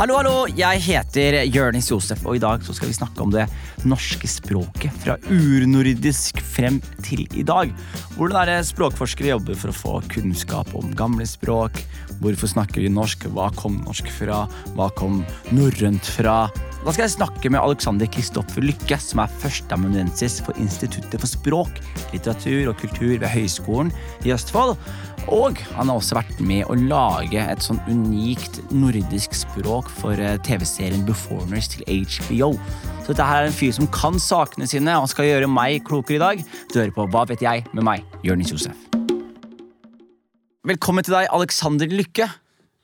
Hallo, hallo! Jeg heter Jørnis Josef, og i dag så skal vi snakke om det norske språket fra urnordisk frem til i dag. Hvordan er det språkforskere jobber for å få kunnskap om gamle språk? Hvorfor snakker vi norsk? Hva kom norsk fra? Hva kom norrønt fra? Da skal jeg snakke med Alexander Kristoffer Lykke, som er førsteamanuensis for Instituttet for språk, litteratur og kultur ved Høgskolen i Østfold. Og han har også vært med å lage et sånn unikt nordisk språk for eh, TV-serien Beformers til HBO. Så dette her er en fyr som kan sakene sine, og han skal gjøre meg klokere i dag. Du hører på Hva vet jeg med meg, Jonis Josef. Velkommen til deg, Alexander Lykke.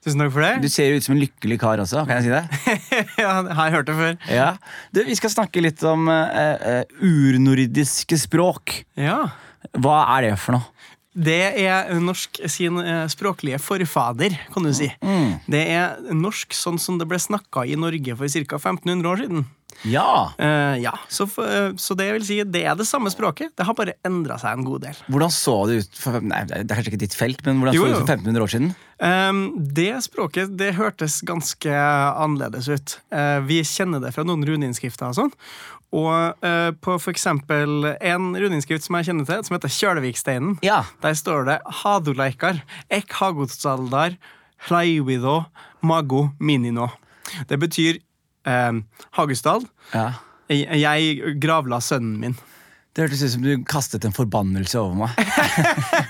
Tusen takk for Du det. ser jo ut som en lykkelig kar også. kan jeg si det? ja, her hørte jeg før. Ja. Du, vi skal snakke litt om eh, eh, urnordiske språk. Ja. Hva er det for noe? Det er norsk sin eh, språklige forfader, kan du si. Det er norsk sånn som det ble snakka i Norge for ca. 1500 år siden. Ja, Eh, ja, så, f- eh, så det vil si, det er det samme språket. Det har bare endra seg en god del. Hvordan så det ut for, nei, Det er kanskje ikke ditt felt, men hvordan Jo, så det ut jo. for 1500 år siden? Ehm, det språket det hørtes ganske annerledes ut. Eh, vi kjenner det fra noen runeinnskrifter og sånn. Og eh, på for eksempel en runeinnskrift som jeg kjenner til, som heter Kjølviksteinen. Ja. Der står det Haduleikar, ek hagotsaldar, hlaivido, mago, minino. Det betyr eh, Hagestad, Ja. jeg- jeg gravla sønnen min. Det hørtes ut som du kastet en forbannelse over meg.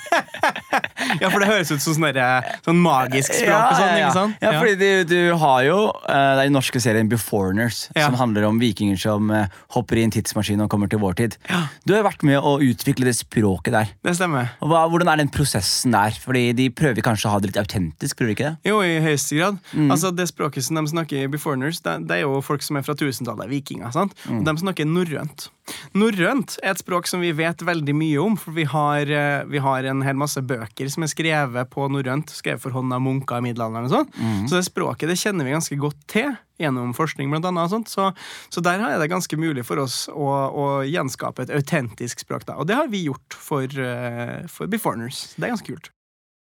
Ja, for det høres ut som sånn, derre- sånn magisk språk og sånn, ja, ja. ikke sant? Ja, fordi du, du har jo eh, den norske serien Beforeigners, Ja. som handler om vikinger som eh, hopper i en tidsmaskin og kommer til vår tid. Du har jo vært med å utvikle det språket der. Det stemmer. Og Hva, hvordan er den prosessen der? Fordi De prøver kanskje å ha det litt autentisk? prøver de ikke det? Jo, i høyeste grad. Altså, Det språket som de snakker i Beforeigners, det, det er jo folk som er fra tusentallet, vikinger. sant? Og de snakker norrønt. Norrønt er et språk som vi vet veldig mye om, for vi har, eh, vi har en hel masse bøker som er skrevet på norrønt, skrevet for hånd av munker i middelalderen og sånn. Så det språket det kjenner vi ganske godt til gjennom forskning, blant annet. Og sånt. Så, så der er det ganske mulig for oss å, å gjenskape et autentisk språk, da. Og det har vi gjort for, eh, for Beforeigners. Det er ganske kult.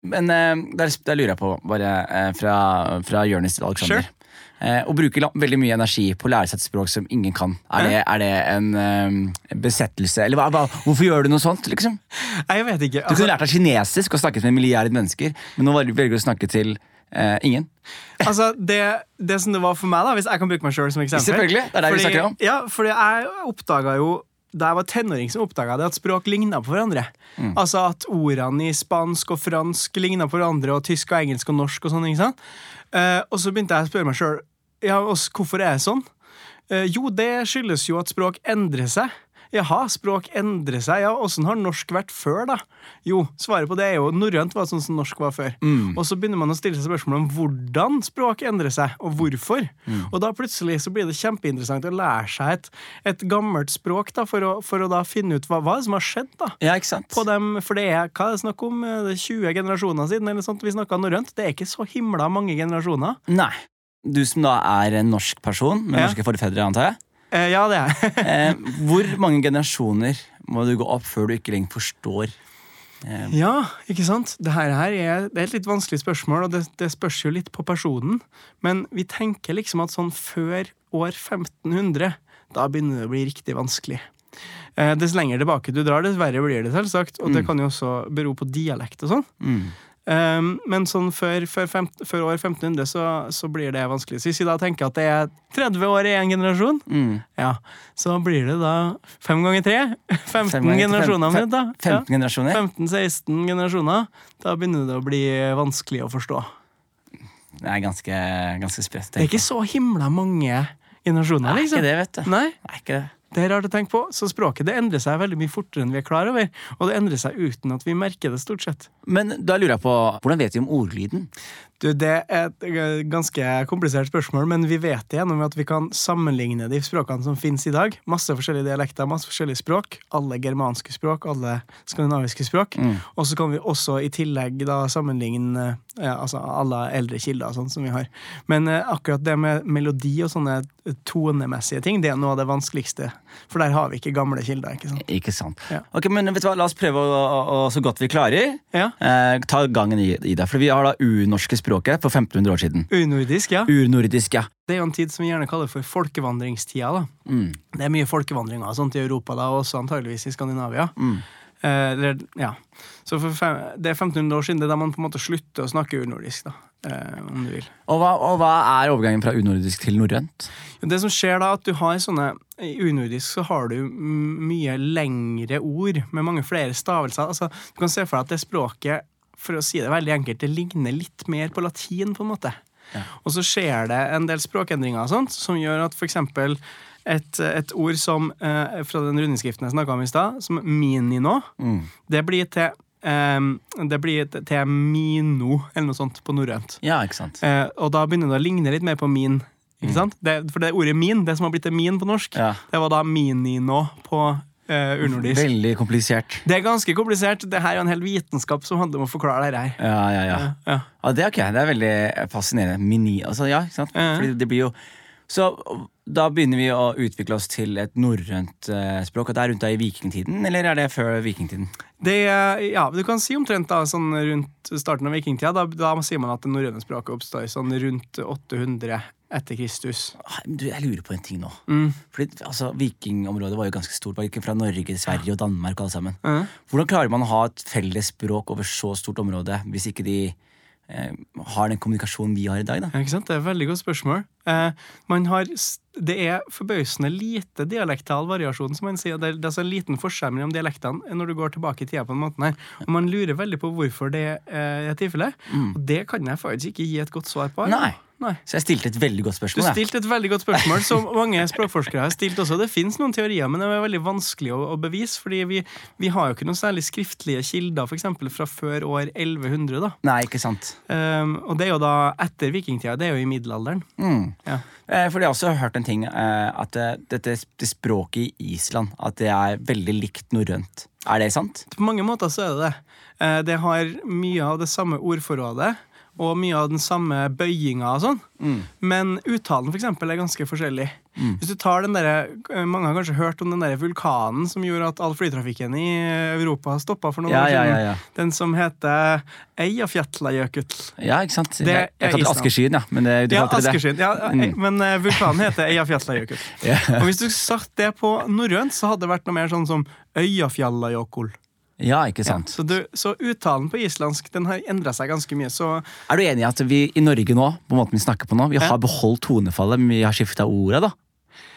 Men eh, der, der lurer jeg på, bare eh, fra, fra Jonis til Alexander. Sure. Eh, å bruke la- veldig mye energi på å lære seg et språk som ingen kan, er det, er det en eh, besettelse? Eller hva, hva, hvorfor gjør du noe sånt? liksom? Nei, Jeg vet ikke. altså- Du kunne lært deg kinesisk og snakket med en milliard mennesker, men nå velger du å snakke til eh, ingen. Altså, det, det som det var for meg, da, hvis jeg kan bruke meg sjøl som eksempel Selvfølgelig, det er det vi fordi, snakker om. Ja, fordi jeg oppdaga jo da jeg var tenåring, som oppdaga det at språk ligna på hverandre. Mm. Altså at ordene i spansk og fransk ligna på hverandre, og tysk og engelsk og norsk og sånn. ikke sant? Eh, og så begynte jeg å spørre meg sjøl ja, og s- hvorfor er det sånn. Eh, jo, det skyldes jo at språk endrer seg. Jaha, språk endrer seg. Ja, åssen har norsk vært før, da? Jo, svaret på det er jo norrønt var sånn som norsk var før. Og så begynner man å stille seg spørsmål om hvordan språk endrer seg, og hvorfor. Og da plutselig så blir det kjempeinteressant å lære seg et, et gammelt språk, da, for å, for å da finne ut hva, hva er det som har skjedd, da. Ja, ikke sant? På dem, for det er hva er det snakk om eh, det er 20 generasjoner siden eller sånt, vi snakka norrønt. Det er ikke så himla mange generasjoner. Nei. Du som da er en norsk person, med Ja. norske forfedre, antar jeg. Eh, ja, det er Eh, hvor mange generasjoner må du gå opp før du ikke lenger forstår? Ja, ikke sant? Det her her er, det er et litt vanskelig spørsmål, og det, det spørs jo litt på personen. Men vi tenker liksom at sånn før år 1500, da begynner det å bli riktig vanskelig. Eh, dess lenger tilbake du drar, dess verre blir det, selvsagt. Og det Mm. kan jo også bero på dialekt og sånn. Hmm. Eh, men sånn før, før, fem, før år 1500 så, så blir det vanskelig. Så hvis vi da tenker at det er 30 år i én generasjon, Mm. ja, så blir det da fem ganger tre. 15 Fem ganger til fem- generasjoner omtrent, da. Ja. 15 generasjoner? 15-16 generasjoner, da begynner det å bli vanskelig å forstå. Det er ganske, ganske spredt. Det er ikke så himla mange generasjoner, det, liksom. det, vet du. Nei, Det er ikke det. det er rart å tenke på. Så språket det endrer seg veldig mye fortere enn vi er klar over, og det endrer seg uten at vi merker det, stort sett. Men da lurer jeg på, hvordan vet vi om ordlyden? Du, Det er et eh, ganske komplisert spørsmål, men vi vet det gjennom at vi kan sammenligne de språkene som finnes i dag. Masse forskjellige dialekter, masse forskjellige språk. Alle germanske språk, alle skandinaviske språk. Og så kan vi også i tillegg da sammenligne eh, altså alle eldre kilder og sånn som vi har. eh, Men eh, akkurat det med melodi og sånne tonemessige ting, det er noe av det vanskeligste For der har vi ikke gamle kilder. ikke sant? Ikke sant. Ja. Ok, men vet du hva, La oss prøve å, å, å så godt vi klarer. Ja. Eh, ta gangen i, i det. For vi har da urnorske språket for 1500 år siden. Unordisk, ja. Urnordisk, ja. Det er jo en tid som vi gjerne kaller for folkevandringstida. da. Mm. Det er mye folkevandringer og sånt i Europa da, og også antageligvis i Skandinavia. Mm. Eh, eller, ja. Så for fem, det er 1500 år siden, det er da man på en måte slutter å snakke urnordisk, da, eh, om du vil. Og, hva, og hva er overgangen fra unordisk til norrønt? Jo, Det som skjer da, at du har sånne I unordisk så har du m- mye lengre ord med mange flere stavelser. Altså, du kan se for deg at det språket, for å si det veldig enkelt, det ligner litt mer på latin, på en måte. Og så skjer det en del språkendringer og sånt, som gjør at for eksempel et, et ord som eh, fra den rundeskriften jeg snakka om i stad, som mini nå, det blir til eh, det blir til- til mino, eller noe sånt, på norrønt. Ja, ikke sant? Eh, og da begynner det å ligne litt mer på min. Ikke sant? Det, for det ordet min, det som har blitt til min på norsk, Mm. Ja. det var da minino på eh, urnordisk. Veldig komplisert. Det er ganske komplisert. Det her er jo en hel vitenskap som handler om å forklare det her. Ja, ja, ja. Ja. Ja, det, er ok, det er veldig fascinerende. Mini, altså, ja, ikke sant? Ja. Fordi det blir jo Så da begynner vi å utvikle oss til et norrønt eh, språk. Og det er rundt da i vikingtiden, eller er det før vikingtiden? Det, eh, ja, du kan si omtrent da, sånn rundt starten av vikingtida. Da, da sier man at det norrøne språket oppstår sånn rundt 800 etter Kristus. Ah, men Du, jeg lurer på en ting nå. Fordi altså, Vikingområdet var jo ganske stort. Var ikke fra Norge, Sverige og Danmark og alle sammen. Mhm. Hvordan klarer man å ha et felles språk over så stort område hvis ikke de eh, har den kommunikasjonen vi har i dag? da? Ja, ikke sant? Det er et veldig godt spørsmål. Eh, man har, s- det er forbausende lite dialektal variasjon, som man sier. Det er, det er altså en liten forskjell mellom dialektene når du går tilbake i tida på den måten her. Og man lurer veldig på hvorfor det eh, er tilfellet. Og det kan jeg faktisk ikke gi et godt svar på. Nei. Sånn, Nei. Så jeg stilte et veldig godt Du spørsmål. jeg. stilte et veldig godt spørsmål, som mange språkforskere har stilt også. Det fins noen teorier, men de er veldig vanskelig å, å bevise, fordi vi, vi har jo ikke noen særlig skriftlige kilder, f.eks. fra før år 1100. da. Nei, ikke sant. Eh, og det er jo da etter vikingtida. Det er jo i middelalderen. Mm. Ja. Eh, Fordi jeg har også hørt en ting eh, at eh, dette det språket i Island At det er veldig likt norrønt. Er det sant? På mange måter så er det det. Eh, Det har mye av det samme ordforrådet og mye av den samme bøyinga og sånn. Mm. Men uttalen for eksempel, er ganske forskjellig. Hvis du tar den der, eh, Mange har kanskje hørt om den der vulkanen som gjorde at all flytrafikken i eh, Europa stoppa for noen Ja, år ja, siden. ja, ja. Den som heter Eyjafjallajökull. Ja, ikke sant? er jeg jeg kalte det Island. askeskyen, ja. Men det, du Ja, kalte det det. Askersund. Ja, eh, Men eh, vulkanen heter Eyjafjallajökull. Ja. Og hvis du satt det på norrønt, så hadde det vært noe mer sånn som Øyafjallajökull. ja, ikke sant. Så, du, så uttalen på islandsk den har endra seg ganske mye. Så Er du enig i at vi i Norge nå, på måten vi snakker på nå, vi Ja. har beholdt tonefallet, men vi har skifta orda, da?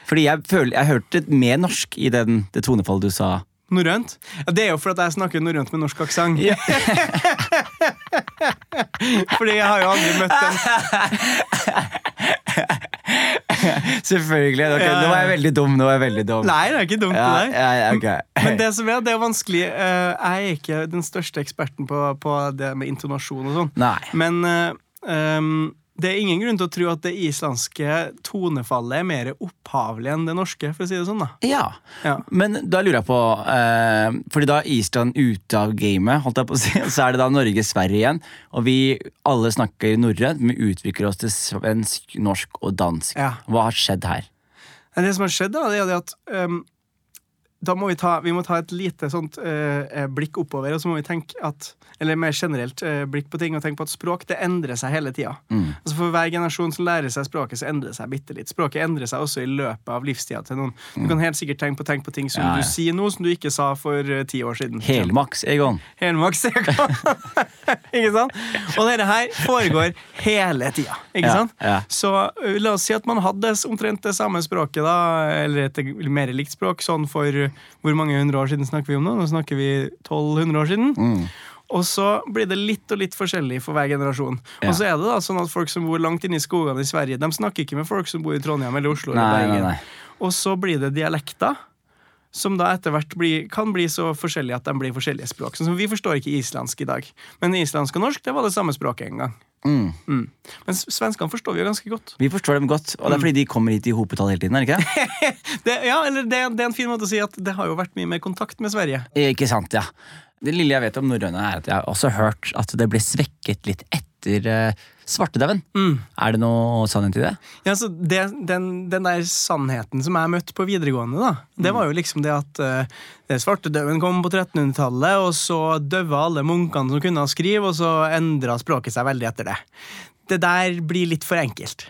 Fordi jeg, føler, jeg hørte mer norsk i den, det tonefallet du sa. norrønt ja, Det er jo fordi jeg snakker norrønt med norsk aksent. Ja. fordi jeg har jo aldri møtt en Selvfølgelig. ok, Ja, ja. Nå var jeg veldig dum. Nå var jeg veldig dum. Nei, det er ikke dumt, ja, det der. ja, ja, ok. Men det som er, det er vanskelig. Eh, Jeg er ikke den største eksperten på, på det med intonasjon og sånn. Nei. Men eh, ehm, det er ingen grunn til å tro at det islandske tonefallet er mer opphavlig enn det norske, for å si det sånn, da. Ja. Ja. Men da lurer jeg på eh, Fordi da er Island ute av gamet, holdt jeg på å si, så er det da Norge-Sverige igjen. Og vi alle snakker norrønt, men utvikler oss til svensk, norsk og dansk. Ja. Hva har skjedd her? Men det som har skjedd, da, det er jo det at ehm, da må vi, ta, vi må ta et lite sånt eh, eh, blikk oppover, og så må vi tenke at Eller mer generelt eh, blikk på ting, og tenke på at språk det endrer seg hele tida. Mm. Altså for hver generasjon som lærer seg språket, så endrer det seg bitte litt. Språket endrer seg også i løpet av livstida til noen. Du kan helt sikkert tenke på, tenke på ting som Mm. Ja, ja. du sier nå, som du ikke sa for eh, ti år siden. Helmaks, Egon. Helmaks. ikke sant? Og dette her foregår hele tida. Ikke Ja, sant? ja. Så ø, la oss si at man hadde s- omtrent det samme språket, da, eller et mer likt språk, sånn for ø, hvor mange hundre år siden snakker vi om nå? Nå snakker vi 1200 år siden. Mm. Og så blir det litt og litt forskjellig for hver generasjon. Ja. Og så er det da sånn at folk som bor langt inne i skogene i Sverige, de snakker ikke med folk som bor i Trondheim eller Oslo eller Nei, nei, Bergen. nei. Og så blir det dialekter som da etter hvert blir, kan bli så forskjellige at de blir forskjellige språk. Sånn som vi forstår ikke islandsk i dag. Men islandsk og norsk det var det samme språket en gang. Mm. Mm. Men s- svenskene forstår vi jo ganske godt. Vi forstår dem godt, og det er fordi de kommer hit i hopetall hele tiden. er det Ikke det? Det, ja, eller det, det er en fin måte å si at det har jo vært mye mer kontakt med Sverige. Eh, Ikke sant, ja. Det lille jeg vet om norrøne, er at jeg har også hørt at det ble svekket litt etter etter eh, svartedauden. Mm. Er det noe sannhet i det? Ja, så det, den, den der sannheten som jeg møtte på videregående, da, det var jo liksom det at uh, svartedauden kom på 1300-tallet, og så døva alle munkene som kunne skrive, og så endra språket seg veldig etter det. Det der blir litt for enkelt.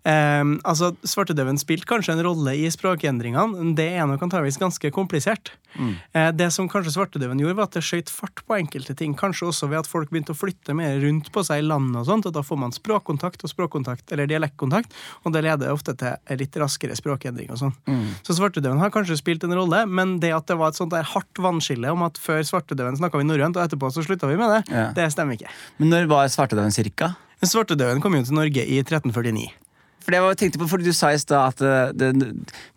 Um, altså, Svartedauden spilte kanskje en rolle i språkendringene. men Det er nok antageligvis ganske komplisert. Eh, det som kanskje svartedauden gjorde, var at det skjøt fart på enkelte ting. Kanskje også ved at folk begynte å flytte mer rundt på seg i landet, og sånt, og da får man språkkontakt og språkkontakt, eller dialektkontakt, og det leder ofte til litt raskere språkendring og sånn. Så svartedauden har kanskje spilt en rolle, men det at det var et sånt der hardt vannskille om at før svartedauden snakka vi norrønt, og etterpå så slutta vi med det, Ja. det stemmer ikke. Men når var svartedauden cirka? Svartedauden kom jo til Norge i 1349. For det var, jeg tenkte på, fordi Du sa i stad at eh, det,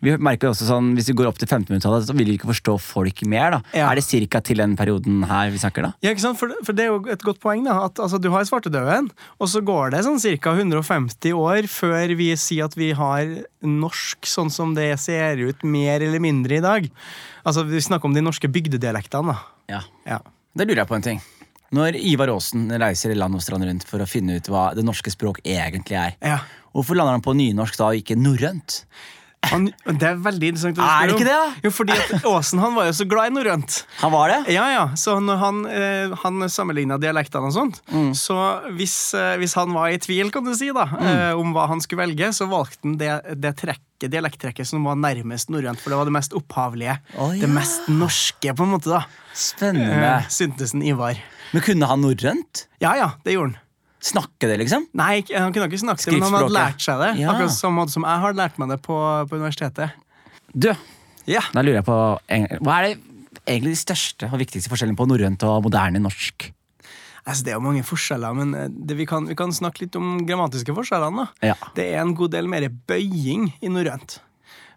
vi merker jo også sånn, hvis vi går opp til 1500-tallet, så vil vi ikke forstå folk mer. da. Ja. Er det cirka til den perioden her vi snakker, da? Ja, ikke sant? For, for det er jo et godt poeng da, at altså, du har svartedauden, og så går det sånn ca. 150 år før vi sier at vi har norsk sånn som det ser ut mer eller mindre i dag. Altså, Vi snakker om de norske bygdedialektene. da. Ja. Ja. Da lurer jeg på en ting. Når Ivar Aasen reiser i land og strand rundt for å finne ut hva det norske språk egentlig er, Ja. hvorfor lander han på nynorsk da og ikke norrønt? Han, det er veldig interessant å Er det spørre om. ikke det, da? Jo, fordi at Aasen han var jo så glad i norrønt. Han var det? Ja, ja. Så når han, eh, han sammenligna dialektene og sånt, Mm. så hvis, eh, hvis han var i tvil kan du si da, eh, om hva han skulle velge, så valgte han det, det trekket, dialekttrekket som var nærmest norrønt, for det var det mest opphavlige. Å, ja. Det mest norske, på en måte. da. Spennende. Eh, syntes en Ivar. Men kunne han norrønt? Ja, ja, det gjorde han. Snakke det, liksom? Nei, ikke- han kunne ikke snakke det, men han hadde Skriftspråket. lært seg det. Ja. Akkurat samme måte som jeg har lært meg det på, på universitetet. Du, Ja. da lurer jeg på en- Hva er det egentlig de største og viktigste forskjellene på norrønt og moderne norsk? Altså, det er jo mange forskjeller, men eh, det, vi, kan, vi kan snakke litt om grammatiske forskjellene. da. Ja. Det er en god del mer bøying i norrønt.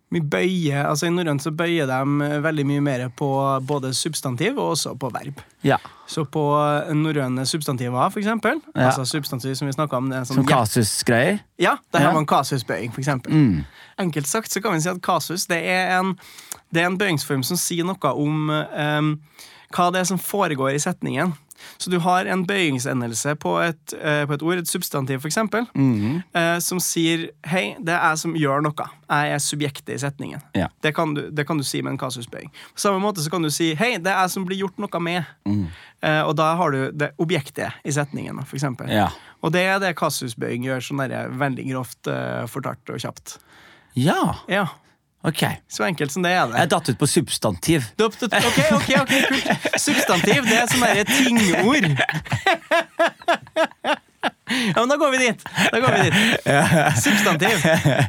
Vi bøyer, altså I norrønt så bøyer de eh, veldig mye mer på både substantiv og også på verb. Ja. Så på eh, norrøne substantiver, for eksempel, Ja. altså substantiv som vi snakket om, det er en Som sånn ja, kasusgreier? ja, der Ja. har man kasusbøying, for eksempel. Mm. Enkelt sagt så kan vi si at kasus det er en, det er en bøyingsform som sier noe om eh, hva det er som foregår i setningen. Så du har en bøyingsendelse på et, eh, på et ord, et substantiv f.eks., eksempel, Mhm. eh, som sier 'hei, det er jeg som gjør noe'. Jeg er subjektet i setningen. Ja. Det, kan du, det kan du si med en kasusbøying. På samme måte så kan du si 'hei, det er jeg som blir gjort noe med'. Mm. Eh, og da har du det objektet i setningen, f.eks. Ja. Og det er det kasusbøying gjør, sånn der, veldig grovt eh, fortalt og kjapt. ja. Ja, Ok. Jeg så enkelt som det er det. er datt ut på substantiv. Du- du- Ok, ok, ok, kult. Substantiv, det er sånne der tingord. Ja, men da går vi dit. Da går vi dit. Substantiv,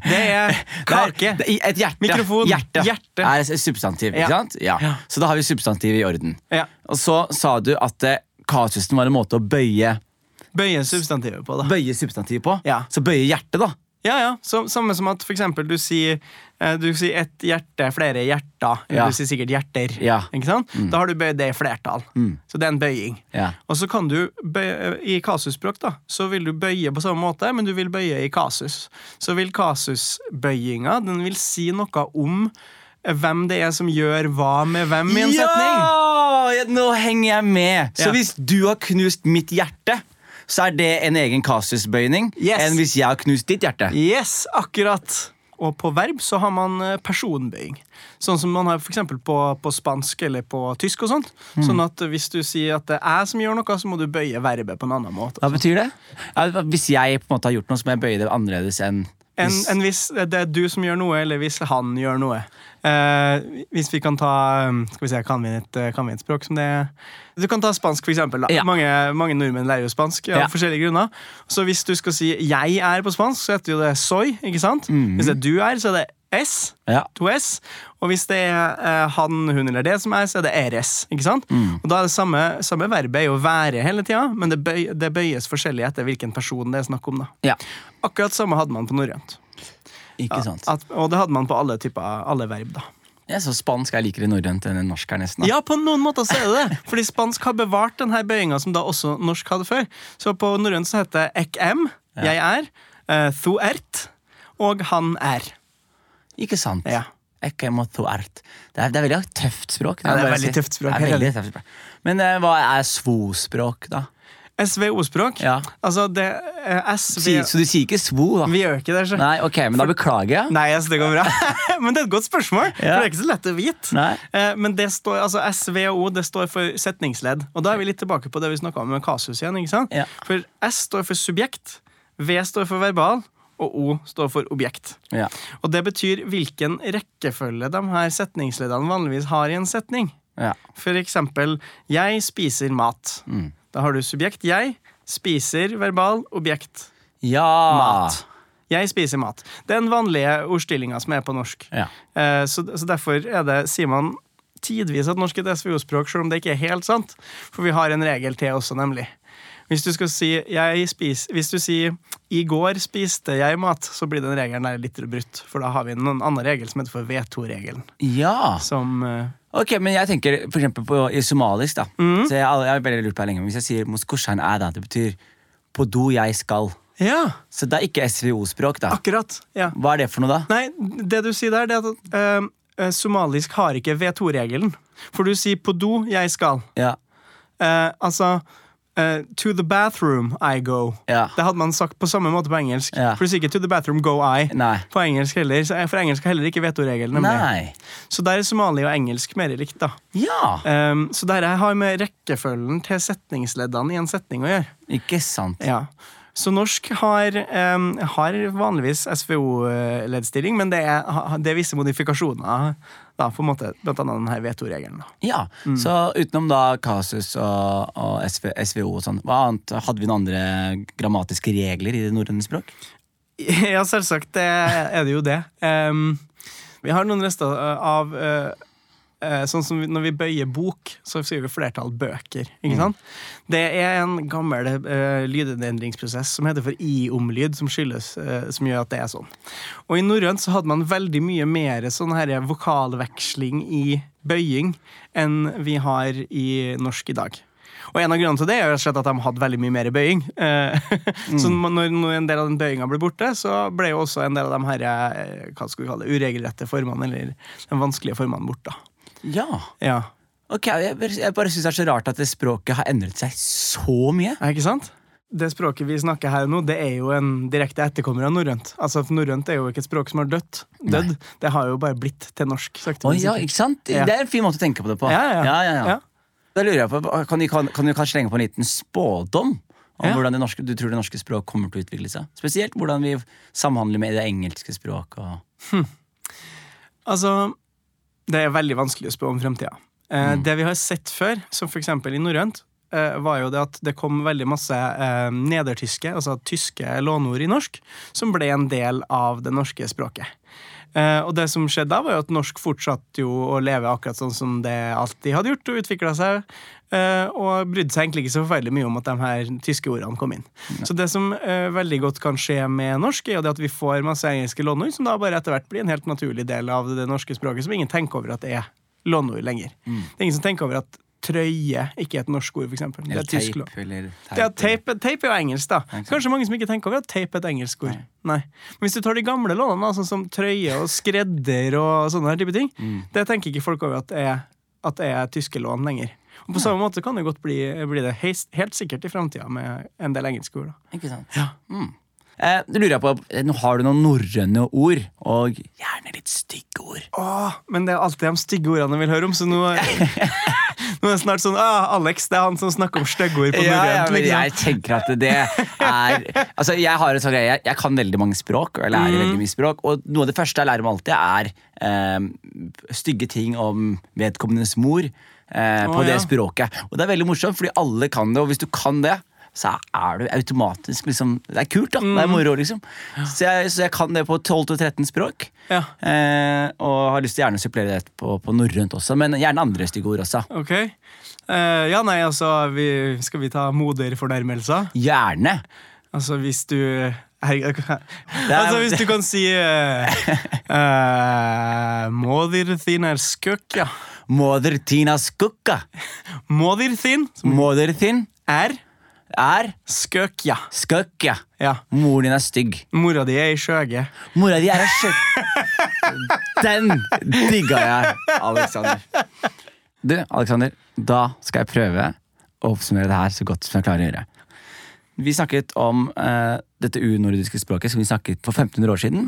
det er kake. Det er- det er Et hjerte. Mikrofon. Hjerte, Hjerte. er et substantiv, ikke Ja. sant? Ja. Ja. Så da har vi substantiv i orden. Ja, Og så sa du at eh, kasusen var en måte å bøye, Bøye substantivet på, da. bøye substantivet på. Ja. Så bøye hjertet, da. Ja, ja. Så, samme som at for eksempel du sier, eh, du sier ett hjerte, flere hjerter. Ja. Du sier sikkert hjerter. Ja. Mm. Ikke sant? Da har du bøyd det i flertall. Så det er en bøying. Ja. Og så kan du bøye, I kasusspråk da, så vil du bøye på samme måte, men du vil bøye i kasus. Så vil kasusbøyinga den vil si noe om eh, hvem det er som gjør hva med hvem i en setning. Ja! Ja, Nå henger jeg med! Så Ja. hvis du har knust mitt hjerte, så er det en egen kasusbøyning Yes. enn hvis jeg har knust ditt hjerte. Yes, akkurat. Og på verb så har man eh, personbøying. Sånn som man har for eksempel på, på spansk eller på tysk. og sånt. Mm. Sånn at hvis du sier at det er jeg som gjør noe, så må du bøye verbet på en annen måte. Hva betyr det? Ja, Hvis jeg på en måte har gjort noe, så må jeg bøye det annerledes enn enn hvis- enn hvis det er du som gjør noe, eller hvis han gjør noe. Eh, hvis vi kan ta um, Skal vi se, kan vi et, eh, kan vi et språk som det er? Du kan ta spansk, for eksempel. Da. Ja. Mange, mange nordmenn lærer jo spansk av Ja. forskjellige grunner. Så hvis du skal si 'jeg er' på spansk, så heter jo det 'soy'. ikke sant? Mm. Hvis det er 'du er', så er det 's. Ja. To S. Og hvis det er eh, han, hun eller det som er, så er det RS. Ikke sant? Mm. Og da er det samme, samme verbet er jo å være hele tida, men det, bøy, det bøyes forskjellig etter hvilken person det er snakk om. da. ja. Akkurat samme hadde man på norrønt. Ikke sant. At- Og det hadde man på alle typer, alle verb. da. Ja, så spansk er likere norrønt enn norsk her, nesten. da. Ja, på noen måter så er det det. Fordi spansk har bevart denne bøyinga som da også norsk hadde før. Så på norrønt så heter det ek em, jeg er, eh, thu ert, og han er. Ikke sant? Ja. Ikke mot to ert. Det er, det er veldig tøft språk. Ja, det er må jeg veldig tøft språk, Det er helt veldig tøft språk. Men eh, hva er svospråk, da? SVO-språk. Ja. Altså, det eh, SV Sier- Så du sier ikke svo, da? Vi gjør ikke det, så. Nei, Nei, ok, men da beklager jeg. altså, det går bra. Men det er et godt spørsmål, for det Ja. er ikke så lett å vite. Nei. Eh, Men det står, altså SVO det står for setningsledd. Og da er vi litt tilbake på det vi snakka om med kasus igjen. ikke sant? Ja. For S står for subjekt, V står for verbal, og O står for objekt. Ja. Og det betyr hvilken rekkefølge de her setningsleddene vanligvis har i en setning. Ja. For eksempel 'jeg spiser mat'. Mm. Da har du subjekt 'jeg', spiser verbal, objekt ja. mat. Jeg spiser mat. Det er den vanlige ordstillinga som er på norsk. Ja. Eh, Så, så derfor er det, sier man tidvis at norsk er et SVO-språk, selv om det ikke er helt sant. For vi har en regel til også, nemlig. Hvis du, skal si, jeg spis, hvis du sier 'i går spiste jeg mat', så blir den regelen der litt brutt. For da har vi en annen regel som heter for V2-regelen. Ja. Som eh, Ok, men jeg tenker for eksempel på, i somalisk, da. Mm. Så jeg, jeg har veldig lurt på det lenge. Men hvis jeg sier «Moskoshan er da, det betyr på do jeg skal. Ja, Så det er ikke SVO-språk, da. akkurat. Ja. Hva er det for noe, da? Nei, det du sier der, det er at eh, eh, somalisk har ikke V2-regelen. For du sier 'på do jeg skal'. Ja. Eh, altså eh, To the bathroom I go. Ja. Det hadde man sagt på samme måte på engelsk. Ja. For du sier ikke to the bathroom go I. Nei. På engelsk heller, så, For engelsk har heller ikke vetoregelen. nemlig. Nei. Så der er somali og engelsk mer likt. da. Ja. Um, så dette har med rekkefølgen til setningsleddene i en setning å gjøre. Ikke sant. Ja. Så norsk har, um, har vanligvis SVO-leddstilling, men det er, ha- det er visse modifikasjoner, da, på en måte, blant annet denne vetoregelen. da. Ja, Så utenom da kasus og, og SV, SVO og sånn, hva annet? Hadde vi noen andre grammatiske regler i det norrøne språk? Ja, selvsagt det er det jo det. Em, vi har noen rester eh, av eh, eh, Sånn som vi- når vi bøyer bok, så sier vi flertall bøker. Ikke sant? Det er en gammel eh, lydendringsprosess som heter for i-omlyd, som, skyldes, eh, som gjør at det er sånn. Og i norrønt så hadde man veldig mye mer sånn her vokalveksling i bøying enn vi har i norsk i dag. Og en av grunnene til det er jo rett og slett at de hadde veldig mye mer bøying. Eh, Så når, når en del av den bøyinga ble borte, så ble jo også en del av de her, eh, hva skal vi kalle det, uregelrette formene, eller de vanskelige formene, borte. Ja. Ja, Ok, Jeg, jeg bare syns det er så rart at det språket har endret seg så mye. er Eh, ikke sant? Det språket vi snakker her nå, det er jo en direkte etterkommer av norrønt. Altså, for norrønt er jo ikke et språk som har dødt. Dødd. Det har jo bare blitt til norsk, sakte, Oi, men ja, sikkert. ikke sant? Ja. Det er en fin måte å tenke på det på. Ja, ja, ja. Ja. Da lurer jeg på, Kan du, kan, kan du kanskje slenge på en liten spådom om Ja. hvordan det norske, du tror det norske språk kommer til å utvikle seg? Spesielt hvordan vi samhandler med det engelske språket. og- Altså, det er veldig vanskelig å spå om fremtida. Eh, Det vi har sett før, som f.eks. i norrønt, eh, var jo det at det kom veldig masse eh, nedertyske, altså tyske låneord i norsk, som ble en del av det norske språket. Eh, og det som skjedde da, var jo at norsk fortsatte jo å leve akkurat sånn som det alltid hadde gjort, og utvikla seg, eh, og brydde seg egentlig ikke så forferdelig mye om at de her tyske ordene kom inn. Så det som eh, veldig godt kan skje med norsk, er jo det at vi får masse engelske låneord, som da bare etter hvert blir en helt naturlig del av det norske språket, som ingen tenker over at det er låneord lenger. Det er ingen som tenker over at trøye ikke er et norsk ord, for eksempel. Det Eller er et tysk lån. tape, eller Ja, tape, tape er jo engelsk, da. Kanskje mange som ikke tenker over at tape er et engelsk ord. Nei. Men hvis du tar de gamle lånene, da, sånn som trøye og skredder og sånne her type ting, Mm. det tenker ikke folk over at det er, at det er tyske lån lenger. Og på samme måte kan det godt bli, bli det heis, helt sikkert i framtida med en del engelske ord. da. Ikke sant? Mm. Eh, du lurer jeg på, eh, nå Har du noen norrøne ord, og gjerne litt stygge ord? Åh, men det er alltid de stygge ordene jeg vil høre om, så nå, nå er det snart sånn ah, Alex, det er han som snakker om stygge ord på Ja, ja, norrønt. men liksom. jeg tenker at det er Altså, jeg har et sånt jeg, jeg kan veldig mange språk, og jeg Mm. lærer veldig mye språk, og noe av det første jeg lærer meg alltid, er eh, stygge ting om vedkommendes mor eh, på Å, det ja. språket. Og det er veldig morsomt, fordi alle kan det, og hvis du kan det så er du automatisk liksom Det er kult, da. Mm. Det er moro, liksom. Så jeg, så jeg kan det på 12-13 språk. Ja. Eh, og har lyst til å gjerne å supplere det på, på norrønt også, men gjerne andre stygge ord også. Ok. Eh, ja, nei, altså vi, Skal vi ta moderfornærmelser? Gjerne! Altså, hvis du Herregud. Altså, hvis du kan si eh, uh, Modir thin er skøkk, ja. Moder Tina Skukka. Modir thin Moder din er er skøkk, ja. skøkk, ja. ja. Moren din er stygg. Mora di er i skjøge. Mora di er ei skjøkk... Den digga jeg, Alexander. Du, Alexander, da skal jeg prøve å oppsummere det her så godt som jeg klarer å gjøre. Vi snakket om eh, dette unordiske språket som vi snakket for 1500 år siden.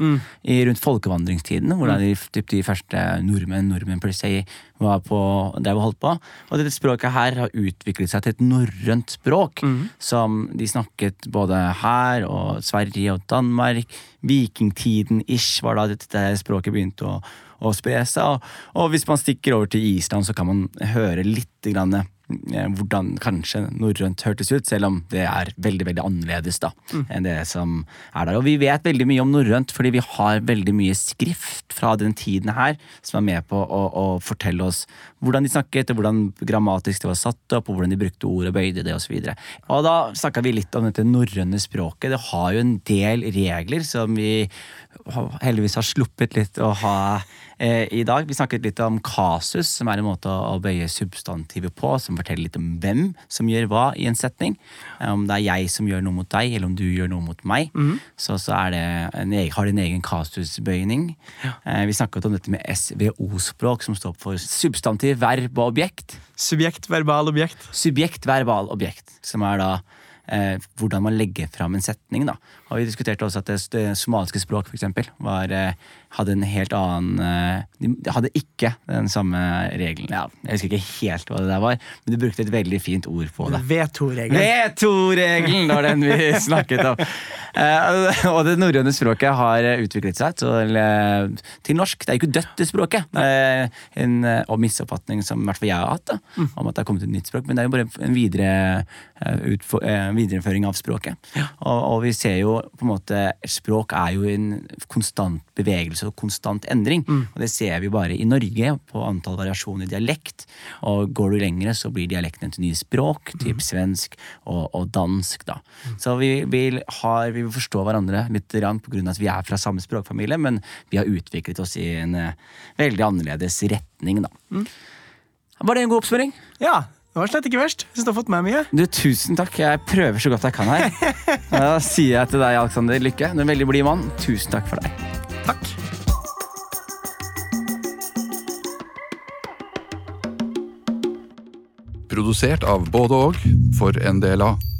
I, rundt folkevandringstiden, hvor da de, typ, de første nordmenn nordmenn per se, var på, der vi holdt på. Og dette språket her har utviklet seg til et norrønt språk, som de snakket både her og Sverige og Danmark. Vikingtiden-ish var da dette språket begynte å, å spre seg. Og, og hvis man stikker over til Island, så kan man høre litt grann, eh, hvordan kanskje norrønt hørtes ut, selv om det er veldig veldig annerledes da, enn det som er der. Og vi vet veldig mye om norrønt fordi vi har veldig mye skrift fra den tiden her som er med på å, å fortelle oss hvordan de snakket, og hvordan grammatisk det var satt opp, og hvordan de brukte ord og bøyde det osv. Og da snakka vi litt om dette norrøne språket. Det har jo en del regler som vi heldigvis har sluppet litt å ha eh, i dag. Vi snakket litt om kasus, som er en måte å, å bøye substantivet på, som forteller litt om hvem som gjør hva i en setning. Eh, Om det er jeg som gjør noe mot deg, eller om du gjør noe mot meg, så, så er det en, eg- har det en egen kasusbøyning. Eh, vi snakket om dette med SVO-språk, som står for substantiv, verb og objekt. Subjekt, verbal, objekt. Subjekt, verbal, objekt, som er da eh, hvordan man legger fram en setning. Da. Og Vi diskuterte også at det, det somaliske språk for eksempel, var, eh, hadde en helt annen eh, De hadde ikke den samme regelen. Ja, jeg husker ikke helt hva det der var, men du brukte et veldig fint ord på det. V2-regelen. Veto-regelen var den vi snakket om. Eh, og det norrøne språket har eh, utviklet seg til, eh, til norsk. Det er jo ikke dødt, det språket. Eh, en eh, og misoppfatning som i hvert fall jeg har hatt, da, om at det har kommet et nytt språk. Men det er jo bare en videre, eh, utfo- eh, videreføring av språket. Og, og vi ser jo på en måte Språk er jo en konstant bevegelse og konstant endring. Og det ser vi bare i Norge på antall variasjoner i dialekt. Og går du lengre, så blir dialekten til nye språk, typ svensk og, og dansk, da. Så vi vil, har, vi vil forstå hverandre litt grann på grunn av at vi er fra samme språkfamilie, men vi har utviklet oss i en eh, veldig annerledes retning, da. Var det en god oppsummering? Ja, det var slett ikke verst. Syns du har fått med mye. Du, Tusen takk. Jeg prøver så godt jeg kan her. Da sier jeg til deg, Alexander Lykke, du er en veldig blid mann, tusen takk for deg. Takk. Produsert av både og for en del av.